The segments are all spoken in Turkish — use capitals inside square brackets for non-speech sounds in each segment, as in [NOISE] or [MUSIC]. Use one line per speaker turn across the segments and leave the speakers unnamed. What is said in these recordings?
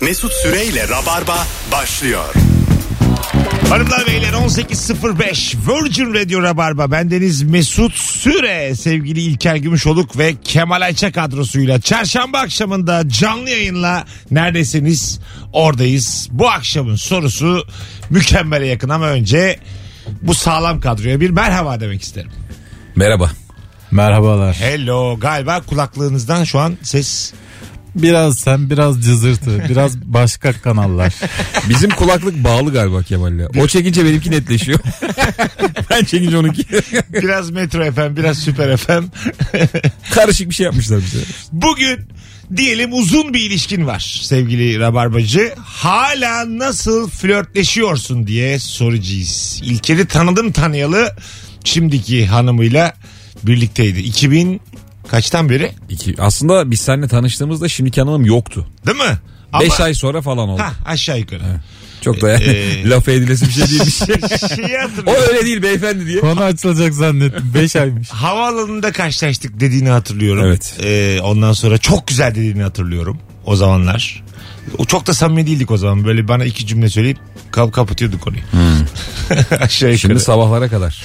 Mesut Süreyle Rabarba başlıyor.
Hanımlar beyler 18.05 Virgin Radio Rabarba. Bendeniz Mesut Süre, sevgili İlker Gümüşoluk ve Kemal Ayça kadrosuyla. Çarşamba akşamında canlı yayınla neredesiniz oradayız. Bu akşamın sorusu mükemmele yakın ama önce bu sağlam kadroya bir merhaba demek isterim.
Merhaba.
Merhabalar.
Hello galiba kulaklığınızdan şu an ses
Biraz sen biraz cızırtı. Biraz başka
[LAUGHS]
kanallar.
Bizim kulaklık bağlı galiba Kemal'le. O çekince benimki [LAUGHS] netleşiyor. ben çekince onunki.
biraz Metro FM biraz Süper FM.
Karışık bir şey yapmışlar bize.
Bugün diyelim uzun bir ilişkin var sevgili Rabarbacı. Hala nasıl flörtleşiyorsun diye soracağız. İlker'i tanıdım tanıyalı şimdiki hanımıyla birlikteydi. 2000 kaçtan beri
İki, aslında biz seninle tanıştığımızda şimdiki hanımım yoktu.
değil mi?
5 ay sonra falan oldu.
Hah, aşağı yukarı.
Çok da yani
Ee,
[LAUGHS] laf edilesi bir şey değilmiş.
Şeyi
E, o
hatırlıyorum.
öyle değil beyefendi diye.
Konu açılacak zannettim. 5 aymış.
Havaalanında karşılaştık dediğini hatırlıyorum.
Evet.
Ee, ondan sonra çok güzel dediğini hatırlıyorum o zamanlar. O çok da samimi değildik o zaman. Böyle bana iki cümle söyleyip kap kapatıyorduk konuyu. [LAUGHS] Aşağı yukarı.
Hmm. Şimdi sabahlara kadar.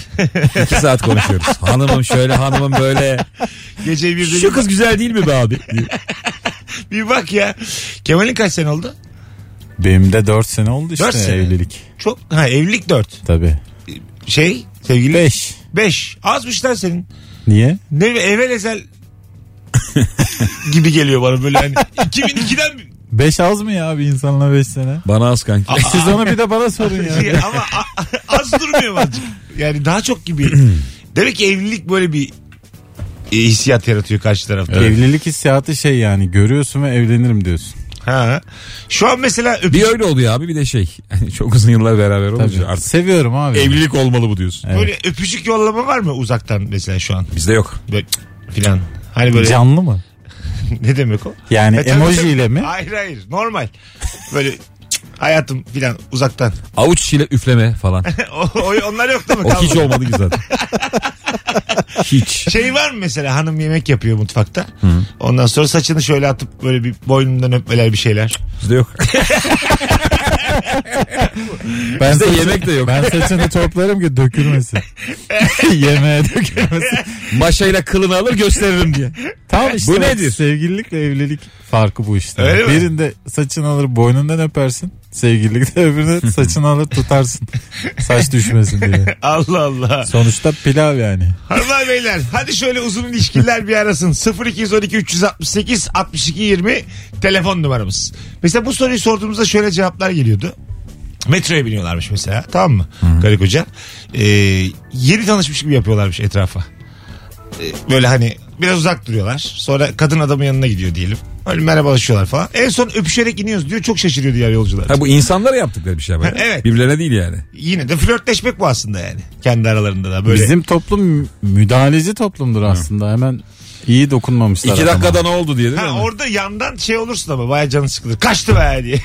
2 saat [LAUGHS] konuşuyoruz. Hanımım şöyle hanımım böyle.
Gece bir de
Şu kız güzel değil mi be abi?
bir bak ya. Kemal'in kaç sene oldu?
Benim de 4 sene oldu işte
Dört sene.
evlilik.
Çok. Ha evlilik 4.
Tabii.
Şey sevgili
5.
5. Azmış lan senin.
Niye?
Ne evvel
[LAUGHS]
ezel gibi geliyor bana böyle hani 2002'den
5 az mı ya bir insanla 5 sene?
Bana az kanki.
Siz onu bir de bana sorun
[LAUGHS]
[LAUGHS]
ya.
ama a- az durmuyor mu azıcık? Yani daha çok
[CLEARS THROAT]
gibi. Demek ki evlilik böyle bir e, hissiyat yaratıyor karşı tarafta.
Evlilik hissiyatı şey yani görüyorsun ve evlenirim diyorsun.
Ha. Şu an mesela öpüş-
Bir öyle oluyor abi bir de şey. çok uzun yıllar beraber
Tabii.
olunca artık.
Seviyorum abi.
Evlilik olmalı bu diyorsun.
Evet.
böyle öpücük yollama var mı uzaktan mesela şu an?
Bizde yok.
Böyle cık filan. Hani böyle
Canlı mı?
[LAUGHS] ne demek o?
Yani
E, tabii,
emoji
tabii.
ile mi?
Hayır hayır normal. Böyle cık, hayatım filan uzaktan. [LAUGHS]
Avuç ile üfleme falan.
O- o- onlar yok değil mi?
O hiç
Kaldı.
olmadı ki
[LAUGHS]
zaten. hiç.
Şey var mı mesela hanım yemek yapıyor mutfakta. Ondan sonra saçını şöyle atıp böyle bir boynundan öpmeler bir şeyler.
Bizde yok.
Ben
Bizde
saçını-
yemek de yok.
Ben saçını toplarım ki
[LAUGHS]
dökülmesin. [LAUGHS] Yemeğe dökülmesin.
Maşayla kılını alır gösteririm diye.
Tam işte
Bu
bu
nedir?
nedir? Sevgililikle evlilik farkı bu işte.
Öyle mi?
Birinde saçını alır boynundan öpersin. Sevgililikte [LAUGHS] öbüründe saçını alır tutarsın. Saç düşmesin diye.
Allah Allah.
Sonuçta pilav yani.
Hanımlar beyler hadi şöyle uzun ilişkiler bir arasın. 0212 368 62 20 telefon numaramız. Mesela bu soruyu sorduğumuzda şöyle cevaplar geliyordu. Metroya biniyorlarmış mesela tamam mı karı koca. Ee, yeni tanışmış gibi yapıyorlarmış etrafa. Ee, böyle hani biraz uzak duruyorlar. Sonra kadın adamın yanına gidiyor diyelim. Öyle merhabalaşıyorlar falan. En son öpüşerek iniyoruz diyor çok şaşırıyor diğer yolcular.
Ha bu insanlara yaptıkları bir şey böyle.
Evet.
Birbirlerine değil yani.
Yine de flörtleşmek bu aslında yani. Kendi aralarında da böyle.
Bizim toplum müdahaleci toplumdur aslında. Hemen iyi dokunmamışlar.
İki
adama.
dakikada ne oldu diye değil mi?
Ha, orada yandan şey olursun ama baya canı sıkılır. Kaçtı be diye.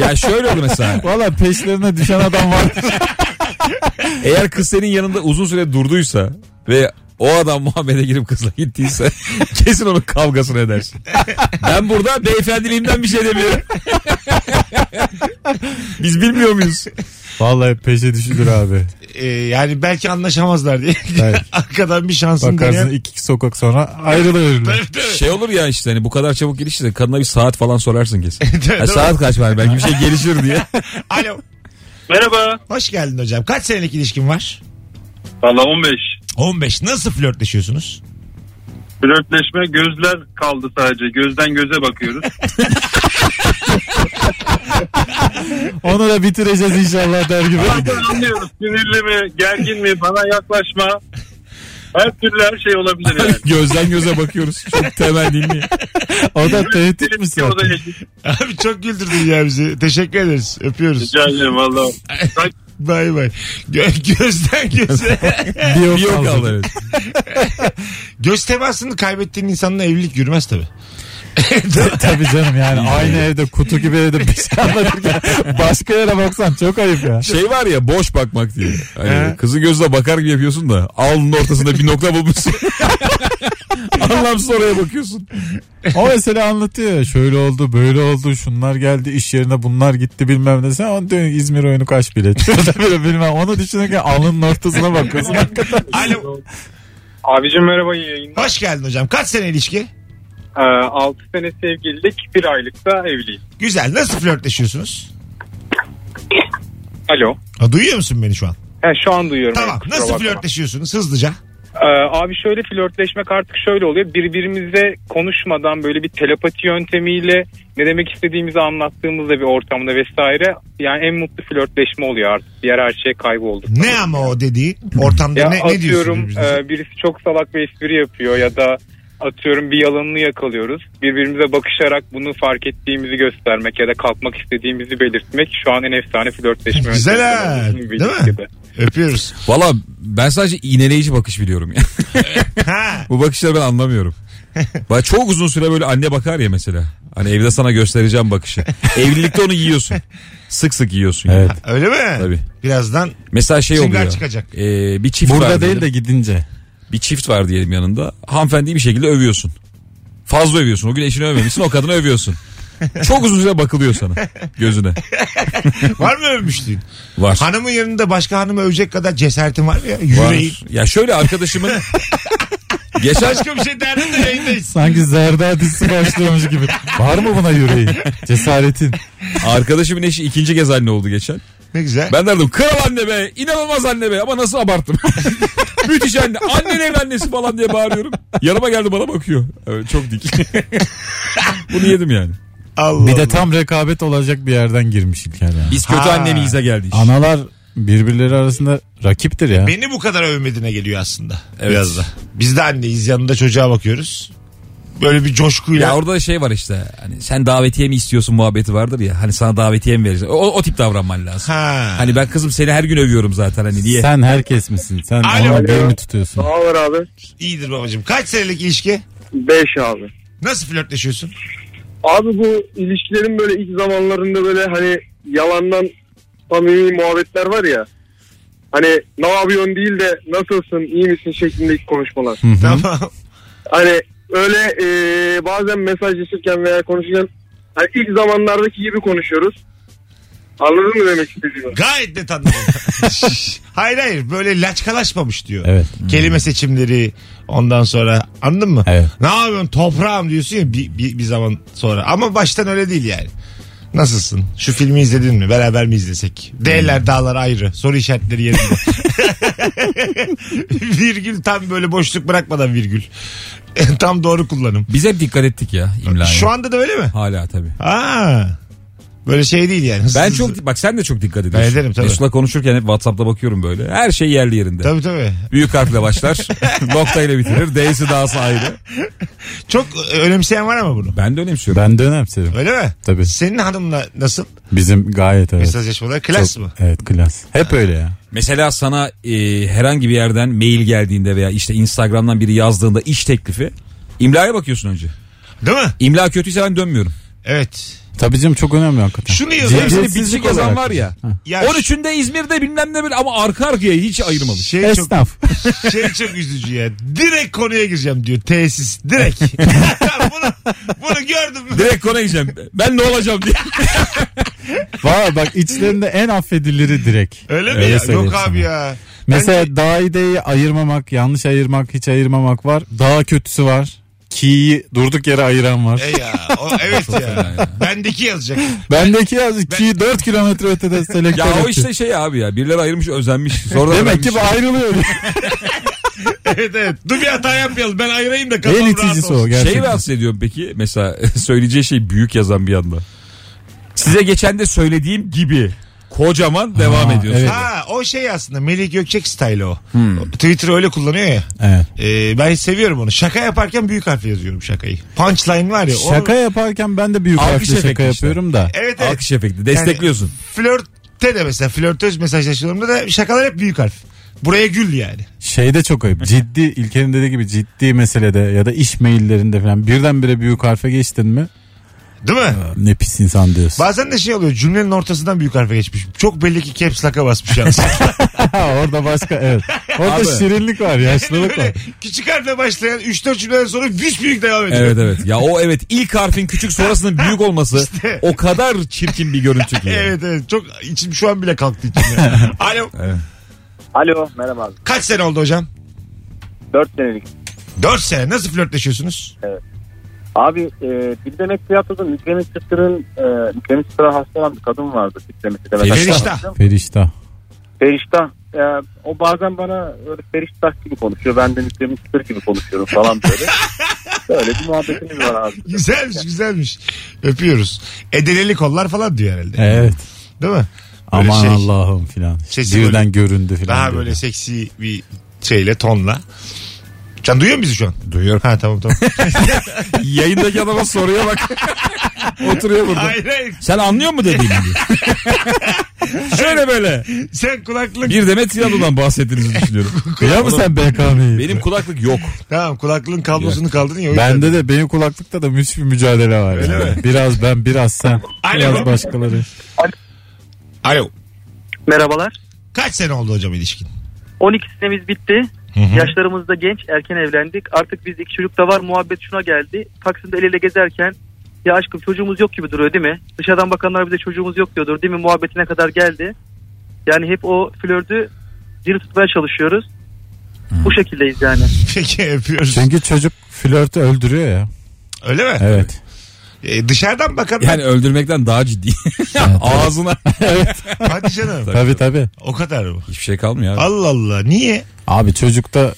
ya şöyle oldu
[LAUGHS]
mesela.
Valla peşlerine düşen adam var.
Eğer kız senin yanında uzun süre durduysa ve o adam muhabbete girip kızla gittiyse [LAUGHS] kesin onun kavgasını edersin. Ben burada beyefendiliğimden bir şey demiyorum. [LAUGHS] Biz bilmiyor muyuz?
Vallahi peşe düşülür abi.
Ee, yani belki anlaşamazlar diye. [LAUGHS]
Evet.
Arkadan bir şansın
Bakarsın
[LAUGHS] deneyen.
iki iki sokak sonra ayrılır.
Şey olur ya işte hani bu kadar çabuk gelişti de kadına bir saat falan
[LAUGHS]
sorarsın kesin.
Tabii,
Ha,
tabii.
saat kaç var belki bir şey gelişir diye.
Alo.
Merhaba.
Hoş geldin hocam. Kaç senelik ilişkin var?
Valla 15.
15. Nasıl flörtleşiyorsunuz?
Flörtleşme gözler kaldı sadece. Gözden göze
[LAUGHS]
bakıyoruz.
Onu da bitireceğiz inşallah der gibi.
Bazen anlıyoruz sinirli mi, gergin mi, bana yaklaşma. Her türlü her şey olabilir yani.
Gözden göze bakıyoruz. Çok temel değil mi?
O da [LAUGHS] tehdit mi
O da
zaten?
ilginç.
[LAUGHS] Abi çok güldürdün ya bizi. Teşekkür ederiz. Öpüyoruz.
Rica ederim valla.
Bay bay. Gö- [LAUGHS] gözden göze. [LAUGHS]
Bir yok,
Bir yok
kaldı.
kaldı. evet.
Göz temasını kaybettiğin insanla evlilik yürümez tabii.
Tabii canım yani aynı evde kutu gibi evde bir şey anlatırken başka yere baksan çok ayıp ya.
Şey var ya boş bakmak
[LAUGHS]
diye. Hani kızı gözle bakar gibi yapıyorsun da alnın ortasında bir nokta bulmuşsun. Anlamsız oraya bakıyorsun.
O mesela anlatıyor ya şöyle oldu böyle oldu şunlar geldi iş yerine bunlar gitti bilmem ne. Sen onu diyorsun İzmir oyunu kaç bilet. [LAUGHS] böyle bilmem onu düşünürken alnının ortasına bakıyorsun. Hakikaten.
Alo.
[LAUGHS] Abicim merhaba iyi yayınlar.
Hoş geldin hocam. Kaç sene ilişki?
6 sene sevgililik 1 aylık da evliyiz.
Güzel. Nasıl flörtleşiyorsunuz?
Alo.
Ha, duyuyor musun beni şu an?
He, şu an duyuyorum.
Tamam.
Evet, kusura
Nasıl
bakma.
flörtleşiyorsunuz? Hızlıca.
Ee, abi şöyle flörtleşmek artık şöyle oluyor. Birbirimize konuşmadan böyle bir telepati yöntemiyle ne demek istediğimizi anlattığımızda bir ortamda vesaire. Yani en mutlu flörtleşme oluyor artık. Diğer her şey kayboldu.
Ne ama o dediği? Ortamda
Ya
ne, ne diyorsun?
atıyorum
birbirinize?
e, birisi çok salak bir espri yapıyor ya da atıyorum bir yalanını yakalıyoruz. Birbirimize bakışarak bunu fark ettiğimizi göstermek ya da kalkmak istediğimizi belirtmek şu an en efsane flörtleşme.
Güzel
yöntemi.
ha,
Bizim
değil mi?
ilişkide.
Öpüyoruz.
Valla ben sadece iğneleyici bakış biliyorum ya. [LAUGHS]
Ha.
Bu bakışları ben anlamıyorum. Bak çok uzun süre böyle anne bakar ya mesela. Hani evde sana göstereceğim bakışı. Evlilikte onu yiyorsun. Sık sık yiyorsun.
Evet.
Yani.
Öyle mi?
Tabii.
Birazdan
Mesela şey
Çıngar
oluyor.
çıkacak.
Ee, bir çift var
Burada
diyelim.
değil de gidince.
Bir çift var diyelim yanında. Hanımefendiyi bir şekilde övüyorsun. Fazla övüyorsun. O gün eşini övmemişsin o kadını övüyorsun. Çok uzun süre bakılıyor sana gözüne.
var mı
[LAUGHS]
övmüştüğün?
Var.
Hanımın yanında başka hanımı övecek kadar cesaretin var mı ya?
Var.
Yüreğin.
Ya şöyle arkadaşımın
[LAUGHS]
geçen
Başka bir şey derdim de yayındayız.
Sanki Zerda dizisi başlıyormuş gibi. Var mı buna yüreği? Cesaretin.
şey-
arkadaşımın eşi ikinci kez anne oldu geçen.
Ne güzel.
Ben derdim kral anne be inanılmaz anne be ama nasıl abarttım. [LAUGHS] Müthiş anne annen ev annesi falan diye bağırıyorum. Yanıma geldi bana bakıyor. Evet, çok dik. [LAUGHS] Bunu yedim yani.
Allah
Bir de
Allah.
tam rekabet olacak bir yerden girmiş İlker yani.
Biz kötü
Ha.
annemiyize geldi iş.
Analar birbirleri arasında rakiptir ya.
Beni bu kadar övmediğine geliyor aslında.
Evet.
Biraz da. Biz de anneyiz yanında çocuğa bakıyoruz. Böyle bir coşkuyla.
Ya orada şey var işte hani sen davetiye mi istiyorsun muhabbeti vardır ya hani sana davetiye mi vereceğiz? O, o tip davranman lazım.
Ha.
Hani ben kızım seni her gün övüyorum zaten hani diye.
Sen herkes misin? Sen
Alo.
onun mi tutuyorsun?
var abi?
İyidir babacığım. Kaç senelik ilişki?
5 abi.
Nasıl flörtleşiyorsun?
Abi bu ilişkilerin böyle ilk zamanlarında böyle hani yalandan samimi muhabbetler var ya. Hani ne yapıyorsun değil de nasılsın iyi misin şeklindeki konuşmalar.
Tamam.
Hani öyle e, bazen mesajlaşırken veya konuşurken hani ilk zamanlardaki gibi konuşuyoruz. Anladın mı demek istediğimi?
Gayet net anladım. hayır hayır böyle laçkalaşmamış diyor.
Evet.
Kelime seçimleri ondan sonra anladın mı?
Evet.
Ne yapıyorsun toprağım diyorsun ya bir, bir, bir zaman sonra ama baştan öyle değil yani. Nasılsın? Şu filmi izledin mi? Beraber mi izlesek? D'ler dağlar ayrı. Soru işaretleri yerinde. [LAUGHS] virgül tam böyle boşluk bırakmadan virgül. [LAUGHS] tam doğru kullanım.
Biz hep dikkat ettik ya imlaya.
Şu anda da öyle mi?
Hala tabii.
Aa. Böyle şey değil yani. Hızlı
Ben
hızlı.
çok bak sen de çok dikkat
Ben
ediyorsun.
ederim tabii.
Mesut'la konuşurken hep Whatsapp'ta bakıyorum böyle. Her şey yerli yerinde.
Tabii tabii.
Büyük
[LAUGHS]
harfle başlar. noktayla bitirir. D'si dağsı ayrı.
Çok e, önemseyen var ama bunu.
Ben de önemsiyorum.
Ben de önemserim.
Öyle mi?
Tabii.
Senin hanımla nasıl
Bizim gayet evet.
mesajlaşmalar? Klas
Çok-
mı?
Evet klas. Hep öyle ya.
Mesela sana e, herhangi bir yerden mail geldiğinde veya işte Instagram'dan biri yazdığında iş teklifi imlaya bakıyorsun önce.
Değil mi?
İmla kötüyse ben dönmüyorum.
Evet.
Tabii canım çok önemli hakikaten.
Şunu yazıyor.
Ciddi-
Hepsini
Ciddiyetsizlik
bitişik yazan
olarak.
var ya.
Ya
13'ünde İzmir'de bilmem ne böyle ama arka arkaya hiç ayırmamış.
Şey çok,
Esnaf.
şey çok üzücü ya. Direkt konuya gireceğim diyor. Tesis.
[LAUGHS]
Direkt. bunu, bunu gördüm.
Direkt konuya gideceğim. Ben ne olacağım diye.
[LAUGHS] Valla bak içlerinde en affediliri direkt.
Öyle mi
Öyle
ya?
söyleyeyim
Yok abi
sana.
ya. şey-
Mesela daha iyi deyi ayırmamak, yanlış ayırmak, hiç ayırmamak var. Daha kötüsü var. Ki'yi durduk yere ayıran var.
E ya. O, evet ya. Bendeki yazacak.
Bendeki yaz ki 4 kilometre
[LAUGHS]
ötede selektör.
Ya o
etti.
işte şey abi ya. Birileri ayırmış özenmiş. Sonra
Demek ki bu ayrılıyor.
[LAUGHS]
Evet evet. Dur bir hata yapmayalım. Ben ayırayım da kafam
en
rahat olsun.
iticisi o gerçekten.
Şey rahatsız ediyorum peki mesela [LAUGHS] söyleyeceği şey büyük yazan bir anda. Size geçen de söylediğim gibi kocaman devam ediyorsun.
evet.
Ha o şey aslında Melih Gökçek style o.
Hmm.
Twitter'ı öyle kullanıyor ya.
Evet.
Ee, ben seviyorum onu. Şaka yaparken büyük harfle yazıyorum şakayı. Punchline var ya. onu-
Şaka yaparken ben de büyük
Alkış
harfle şaka
efekti işte.
yapıyorum da.
Evet evet.
Alkış
[LAUGHS]
efekti destekliyorsun.
Flörtte de mesela flörtöz mesajlaşmalarımda da şakalar hep büyük harf. Buraya gül yani.
Şey de çok ayıp. Ciddi İlker'in dediği gibi ciddi meselede ya da iş maillerinde falan birdenbire büyük harfe geçtin mi?
Değil mi?
Ne pis insan diyorsun.
Bazen de şey oluyor
[LAUGHS]
cümlenin ortasından büyük harfe geçmiş. Çok belli ki caps lock'a basmış yalnız.
Orada başka evet. Orada
Abi.
şirinlik var, yaşlılık var.
Böyle küçük harfle başlayan 3-4 cümleden sonra büs büyük devam ediyor.
Evet evet. Ya o evet ilk harfin
[LAUGHS]
küçük sonrasının büyük olması o kadar çirkin bir görüntü ki.
Evet evet çok içim şu an bile kalktı içimde.
[LAUGHS]
Alo
Alo merhaba abi.
kaç sene oldu hocam?
4 senelik.
4 sene nasıl flörtleşiyorsunuz?
Abi e, bir demek tiyatroda Mükremin Çıtır'ın e, Mükremin Çıtır'a hasta olan bir kadın vardı. Mükremin Çıtır'a.
Feriştah.
Feriştah.
Feriştah.
Feriştah. E, o bazen bana öyle Feriştah gibi konuşuyor. Ben de Mükremin Çıtır gibi konuşuyorum falan
[LAUGHS]
böyle. Böyle bir muhabbetimiz var abi.
Güzelmiş güzelmiş. Öpüyoruz. E deleli kollar falan diyor herhalde.
Evet.
Değil mi? Böyle
Aman
şey,
Allah'ım filan.
Sesi
Birden
böyle-
göründü filan.
Daha böyle seksi bir şeyle tonla. Can duyuyor musun bizi şu an? Duyuyorum. Ha tamam
[LAUGHS]
tamam.
[LAUGHS] Yayındaki adama
[LAUGHS]
soruya bak. Oturuyor burada.
hayır hayır.
Sen anlıyor mu dediğimi?
[LAUGHS]
Şöyle böyle.
Sen kulaklık.
Bir Demet Sinano'dan bahsettiğinizi
[LAUGHS]
düşünüyorum.
Ya mı sen BKM'yi?
Benim kulaklık yok.
Tamam kulaklığın kablosunu kaldırın ya. o yüzden.
Bende de benim kulaklıkta da müthiş bir mücadele var.
Öyle
yani.
mi?
Biraz ben biraz sen.
Alo.
Biraz başkaları.
Alo.
Merhabalar.
Kaç sene oldu hocam ilişkin? [LAUGHS]
12 senemiz bitti.
Hı hı.
Yaşlarımız da genç. Erken evlendik. Artık biz iki çocuk da var. Muhabbet şuna geldi. Taksim'de el ele gezerken ya aşkım çocuğumuz yok gibi duruyor değil mi? Dışarıdan bakanlar bize çocuğumuz yok diyordur değil mi? Muhabbetine kadar geldi. Yani hep o flörtü diri tutmaya çalışıyoruz. Bu şekildeyiz yani.
Peki öpüyoruz.
Çünkü çocuk flörtü öldürüyor ya.
Öyle mi?
Evet.
E, dışarıdan bakan
Yani öldürmekten daha ciddi. Ağzına
hadi canım.
Tabii tabii.
o kadar mı?
hiçbir şey kalmıyor abi.
Allah Allah. Niye?
Abi çocuk da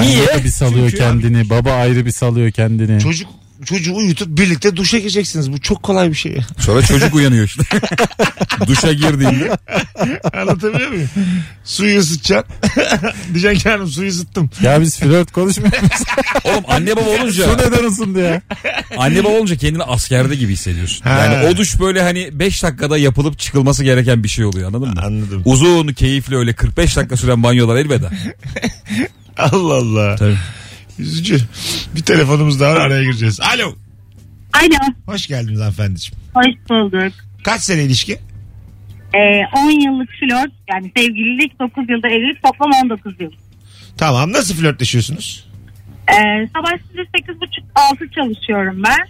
Niye?
Niye? bir salıyor
Çünkü
kendini. Baba ayrı bir salıyor kendini.
Çocuk çocuğu uyutup birlikte duşa gireceksiniz. Bu çok kolay bir şey.
Sonra çocuk uyanıyor işte. Duşa girdiğinde.
Anlatabiliyor muyum? Suyu ısıtacaksın. [LAUGHS] Diyeceksin ki hanım suyu ısıttım.
Ya biz flört konuşmuyoruz.
Oğlum anne baba olunca.
Su neden ısındı ya?
Anne baba olunca kendini askerde gibi hissediyorsun.
Ha.
Yani o duş böyle hani 5 dakikada yapılıp çıkılması gereken bir şey oluyor anladın mı?
Anladım.
Uzun keyifli öyle 45 dakika süren banyolar elveda.
Allah Allah.
Tabii.
Üzücü. Bir telefonumuz daha var araya gireceğiz. Alo.
Alo,
Hoş geldiniz hanımefendiciğim.
hoş bulduk.
Kaç sene ilişki?
Ee, 10 yıllık flört, yani sevgililik 9 yılda evlilik toplam 19 yıl.
Tamam nasıl flörtleşiyorsunuz?
Ee, sabah size 8.30-6 çalışıyorum ben.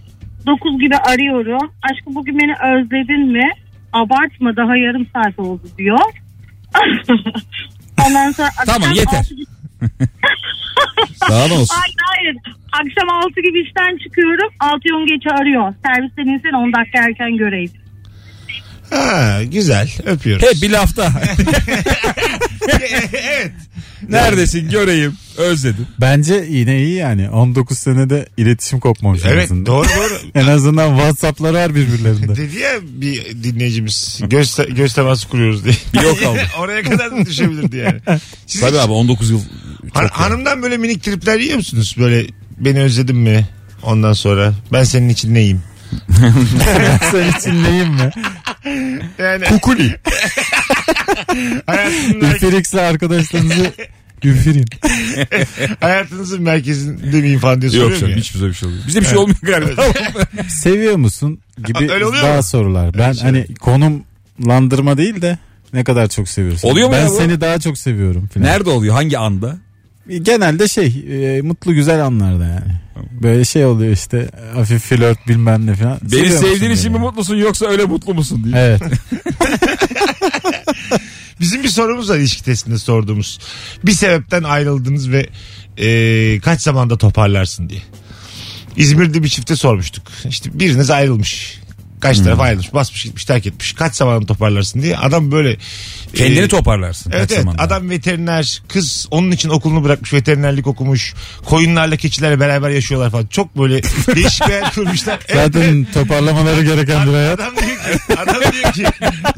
9 gibi arıyorum. Aşkım bugün beni özledin mi? Abartma daha yarım saat oldu diyor. [LAUGHS] Ondan sonra akşam
Tamam, yeter.
altı gibi-
Daha ne olsun?
Hayır hayır. Akşam 6 gibi işten çıkıyorum. 6 yön geçe arıyor. Servisten insene 10 dakika erken göreyim.
Ha güzel öpüyoruz.
Hep bir lafta.
[LAUGHS] evet.
Neredesin göreyim. Özledim.
Bence yine iyi yani. 19 senede iletişim kopmamış en
Evet
azından.
doğru doğru.
En azından Whatsapp'ları var birbirlerinde.
Dedi ya bir dinleyicimiz göz, göz teması kuruyoruz diye.
Bir yok aldı.
[LAUGHS] Oraya kadar da düşebilirdi
[LAUGHS]
yani. Siz
Tabii
hiç-
abi 19 yıl. çok
Han-
yani.
hanımdan böyle minik tripler yiyor musunuz? Böyle beni özledin mi? Ondan sonra ben senin için neyim?
Sen için neyim mi?
Yani [LAUGHS]
Kukuli.
hayatının, merke-
Üfürükse arkadaşlarınızı üfürün.
hayatınızın merkezinde miyim falan diye
Yok
soruyorum
canım
ya.
hiç bize bir şey olmuyor. Bize bir şey olmuyor galiba.
Seviyor musun gibi
Öyle oluyor
daha
mu?
sorular. Ben hani konumlandırma değil de ne kadar çok seviyorsun.
Oluyor mu
ben
ya bu?
seni daha çok seviyorum falan.
Nerede oluyor? Hangi anda?
Genelde şey e, mutlu güzel anlarda yani. Böyle şey oluyor işte hafif flört bilmem ne falan.
Beni
Seviyor
sevdiğin
musun
için mi
beni?
mutlusun yoksa öyle mutlu musun diye. [LAUGHS]
Evet.
Bizim bir sorumuz var ilişki testinde sorduğumuz. Bir sebepten ayrıldınız ve e, kaç zamanda toparlarsın diye. İzmir'de bir çifte sormuştuk. İşte biriniz ayrılmış. Kaç
Hmm.
taraf ayrılmış. Basmış gitmiş terk etmiş. Kaç zamanda toparlarsın diye. Adam böyle...
Kendini
e,
toparlarsın.
Evet
kaç
evet
zamanda.
adam veteriner kız onun için okulunu bırakmış veterinerlik okumuş koyunlarla keçilerle beraber yaşıyorlar falan çok böyle
[LAUGHS]
değişik bir hayat kurmuşlar. Evet, evet.
Zaten toparlamaları gereken bir hayat.
Adam diyor ki, adam diyor
[LAUGHS]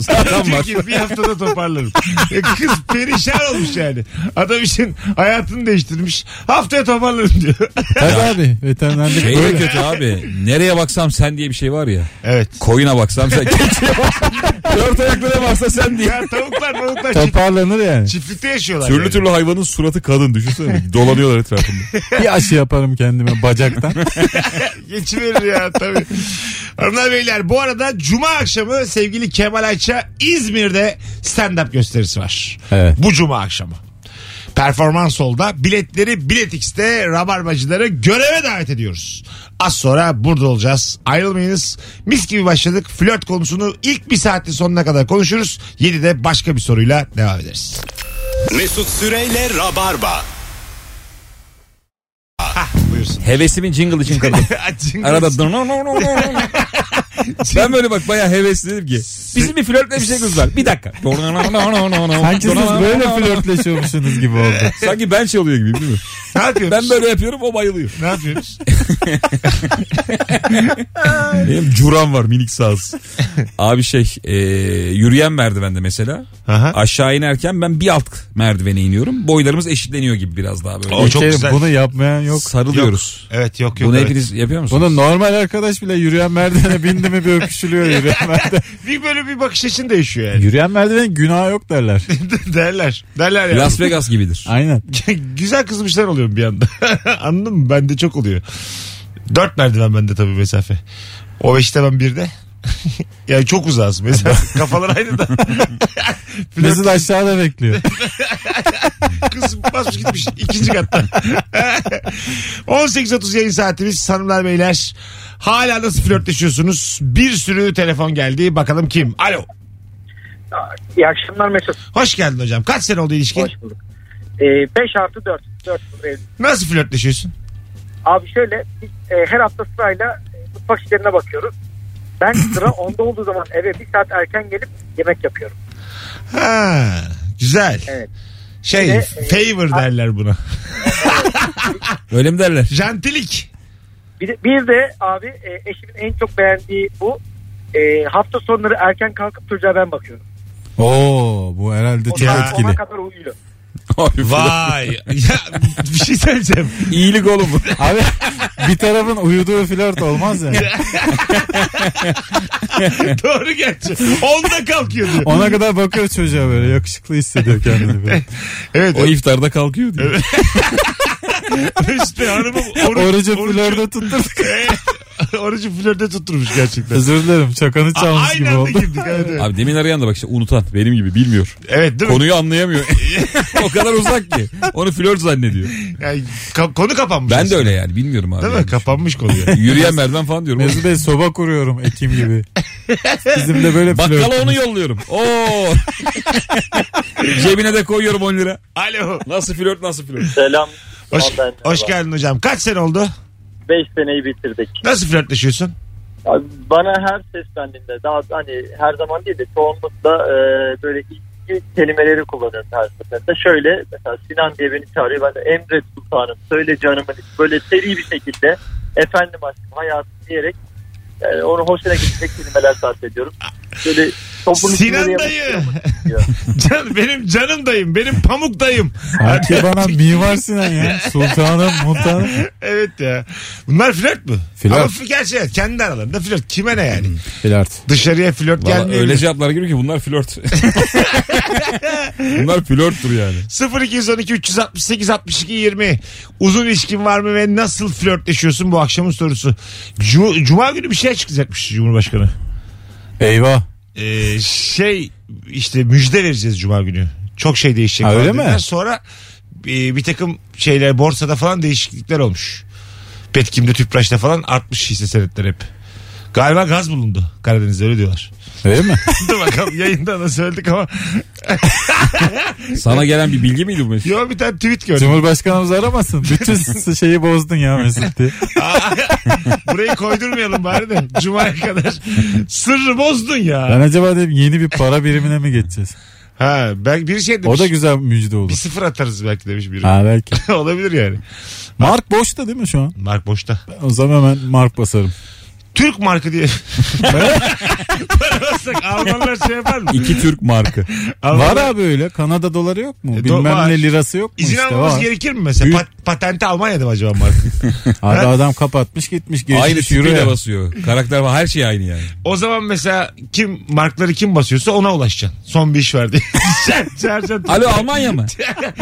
ki, adam diyor ki bir haftada toparlarım. E, Kız perişan olmuş yani. Adam için hayatını değiştirmiş. Haftaya toparlarım diyor.
Tabii abi veterinerlik
Şey de
böyle.
kötü [LAUGHS] abi. Nereye baksam sen diye bir şey var ya.
Evet.
Koyuna baksam [LAUGHS] sen. Keçiye baksam- Dört ayaklıya baksa sen diye.
Ya tavuklar tavuklar çift-
Toparlanır yani.
çiftlikte yaşıyorlar.
Türlü
yani.
türlü hayvanın suratı kadın düşünsene. Dolanıyorlar etrafında. [LAUGHS]
Bir aşı yaparım kendime bacaktan.
Geçiverir ya tabii. Hanımlar beyler bu arada cuma akşamı sevgili Kemal Ayça İzmir'de stand-up gösterisi var.
Evet.
Bu cuma akşamı. Performans Hall'da biletleri Bilet X'te Rabarbacıları göreve davet ediyoruz. Az sonra burada olacağız. Ayrılmayınız. Mis gibi başladık. Flört konusunu ilk bir saatin sonuna kadar konuşuruz. 7'de başka bir soruyla devam ederiz.
Mesut Süreyle Rabarba.
[LAUGHS]
Buyursun.
Hevesimin jingle için kadın. Arada dın- no, no, no, no, no. ben böyle bak bayağı hevesliydim ki. Bizim bir flörtle bir şey var. Bir dakika.
Sanki siz
[LAUGHS]
böyle flörtleşiyormuşsunuz gibi oldu.
Sanki ben çalıyor gibi değil mi?
ne yapıyoruz?
Ben böyle yapıyorum o bayılıyor.
Ne
[LAUGHS]
yapıyoruz?
Benim curam var minik saz.
[LAUGHS]
Abi şey e, yürüyen merdivende mesela.
Aha.
Aşağı inerken ben bir alt merdivene iniyorum. Boylarımız eşitleniyor gibi biraz daha böyle.
O çok
Kerim,
güzel.
Bunu yapmayan yok.
Yok, Sarılıyoruz.
Evet yok yok.
Bunu
evet.
hepiniz yapıyor musunuz?
Bunu normal arkadaş bile yürüyen merdivene bindi mi bir [LAUGHS] öpüşülüyor yürüyen merdiven.
Bir böyle bir bakış açın değişiyor yani. [LAUGHS]
yürüyen merdiven günah yok [LAUGHS] derler.
derler. Derler yani.
Las Vegas gibidir.
Aynen.
[LAUGHS] Güzel kızmışlar oluyorum bir anda. [LAUGHS] Anladın mı? Bende çok oluyor. Dört merdiven bende tabii mesafe. O beşte ben birde. [LAUGHS] yani çok uzağız mesela. Kafalar aynı da. Flört
Mesut aşağıda [LAUGHS] bekliyor.
kız basmış gitmiş ikinci katta. [LAUGHS] 18.30 yayın saatimiz hanımlar beyler. Hala nasıl flörtleşiyorsunuz? Bir sürü telefon geldi. Bakalım kim? Alo.
İyi akşamlar Mesut.
Hoş geldin hocam. Kaç sene oldu ilişkin?
Hoş bulduk. Ee, 5 artı 4. 4
Nasıl flörtleşiyorsun?
Abi şöyle biz e, her hafta sırayla e, mutfak işlerine bakıyoruz. Ben sıra onda olduğu zaman eve bir saat erken gelip yemek yapıyorum.
Ha, güzel.
Evet.
Şey
e,
Ve-
favor derler buna.
Öyle mi derler?
Jantilik.
Bir de, bir de abi e, eşimin en çok beğendiği bu. E, hafta sonları erken kalkıp çocuğa ben bakıyorum.
Oo bu herhalde çok
Ona-
etkili.
Ona kadar uyuyor.
[LAUGHS] Abi,
[LAUGHS] Vay. [LAUGHS] ya, bir şey söyleyeceğim.
İyilik oğlum bu.
[LAUGHS] Abi bir tarafın uyuduğu flört olmaz [LAUGHS] ya.
Doğru gerçi. Onda kalkıyor diyor.
Ona kadar bakıyor çocuğa böyle yakışıklı hissediyor kendini. Böyle.
Evet.
O iftarda kalkıyor diyor.
işte hanımım oruç,
[LAUGHS] Orucu
orucu-
flörde [LAUGHS] tutturduk.
[LAUGHS] orucu flörde tutturmuş
[LAUGHS]
gerçekten.
Özür dilerim çakanı çalmış
Aynı
gibi
anda
oldu.
girdik. Evet, evet.
Abi demin arayan da bak işte unutan benim gibi bilmiyor.
evet değil mi? [LAUGHS]
Konuyu anlayamıyor. [LAUGHS] o kadar uzak ki. Onu flört zannediyor.
Yani ka- konu kapanmış.
Ben de
aslında.
öyle yani bilmiyorum abi.
Değil mi?
Yani.
Kapanmış konu
[LAUGHS]
yani.
Yürüyen merdiven falan diyorum.
Mesut Bey soba kuruyorum Ekim [LAUGHS] gibi. Bizim de böyle
Bakkala onu
flört.
yolluyorum. Oo. [LAUGHS] Cebine de koyuyorum 10 lira.
Alo.
Nasıl flört nasıl flört.
Selam.
Hoş,
Vallahi
hoş
merhaba.
geldin hocam. Kaç sene oldu?
5 seneyi bitirdik.
Nasıl flörtleşiyorsun?
Abi Bana her seslendiğinde daha hani her zaman değil de çoğunlukla e, böyle ilgi kelimeleri kullanıyorum her seferinde. Şöyle mesela Sinan diye beni çağırıyor. Ben de Emre Sultanım söyle canımın içi." böyle seri bir şekilde efendim aşkım hayatım diyerek yani onu hoşuna gidecek kelimeler sarf ediyorum. Böyle toplumun
Sinan
içinde
dayı.
yapıştırıyorum diyor.
[LAUGHS] Can, benim canım dayım. Benim pamuk dayım.
Sanki bana mimar Sinan [LAUGHS] ya. Sultanım, muhtanım.
Evet ya. Bunlar flört mü?
Flört. Hmm.
Ama f- gerçi evet, kendi aralarında flört. Kime ne yani?
Flört.
Dışarıya flört
Valla
gelmiyor.
öyle cevaplar geliyor ki bunlar [LAUGHS] flört. bunlar flörttür yani.
0212 368 62 20 Uzun ilişkin var mı ve nasıl flörtleşiyorsun bu akşamın sorusu. Cu- Cuma günü bir şey açıklayacakmış Cumhurbaşkanı.
Eyvah.
Ee, şey işte müjde vereceğiz Cuma günü. Çok şey değişecek.
Ha,
falan
öyle mi?
dediler. Sonra e, bir takım şeyler borsada falan değişiklikler olmuş. Petkim'de Tüpraş'ta falan artmış hisse senetleri hep. Galiba gaz bulundu Karadeniz'de öyle diyorlar.
Öyle mi?
Dur bakalım yayında da söyledik ama.
Sana gelen bir bilgi miydi bu Mesut?
Yo bir tane tweet gördüm.
Cumhurbaşkanımızı aramasın.
[LAUGHS]
Bütün şeyi bozdun ya Mesut diye.
Burayı koydurmayalım bari de. Cuma'ya kadar. Sırrı bozdun
Ben
ya.
acaba dedim yeni bir para birimine mi geçeceğiz?
Ha, ben bir şey demiş.
O da güzel müjde
bir
olur.
sıfır atarız belki demiş
şey-
biri.
Ha
[LAUGHS]
belki.
Olabilir yani.
Mark boşta değil mi şu an?
Mark boşta.
O zaman hemen Mark basarım.
Türk markı
[LAUGHS]
diye. Para bassak Almanlar şey yapar mı?
İki Türk markı.
Almanlar-
Var abi öyle. Kanada doları yok mu?
E, do-
Bilmem
var.
ne lirası yok mu
İzin
işte
almamız
var.
gerekir mi mesela?
Büyük-
Pat- patenti Almanya'da mı acaba markı?
Abi adam kapatmış gitmiş
aynı
geçmiş yürü
tipiyle
ya.
basıyor. Karakter var her şey aynı yani.
o zaman mesela kim markları kim basıyorsa ona ulaşacaksın. Son bir iş var diye. [LAUGHS] Çağır- Çağıracaksın.
Alo Almanya [LAUGHS] mı?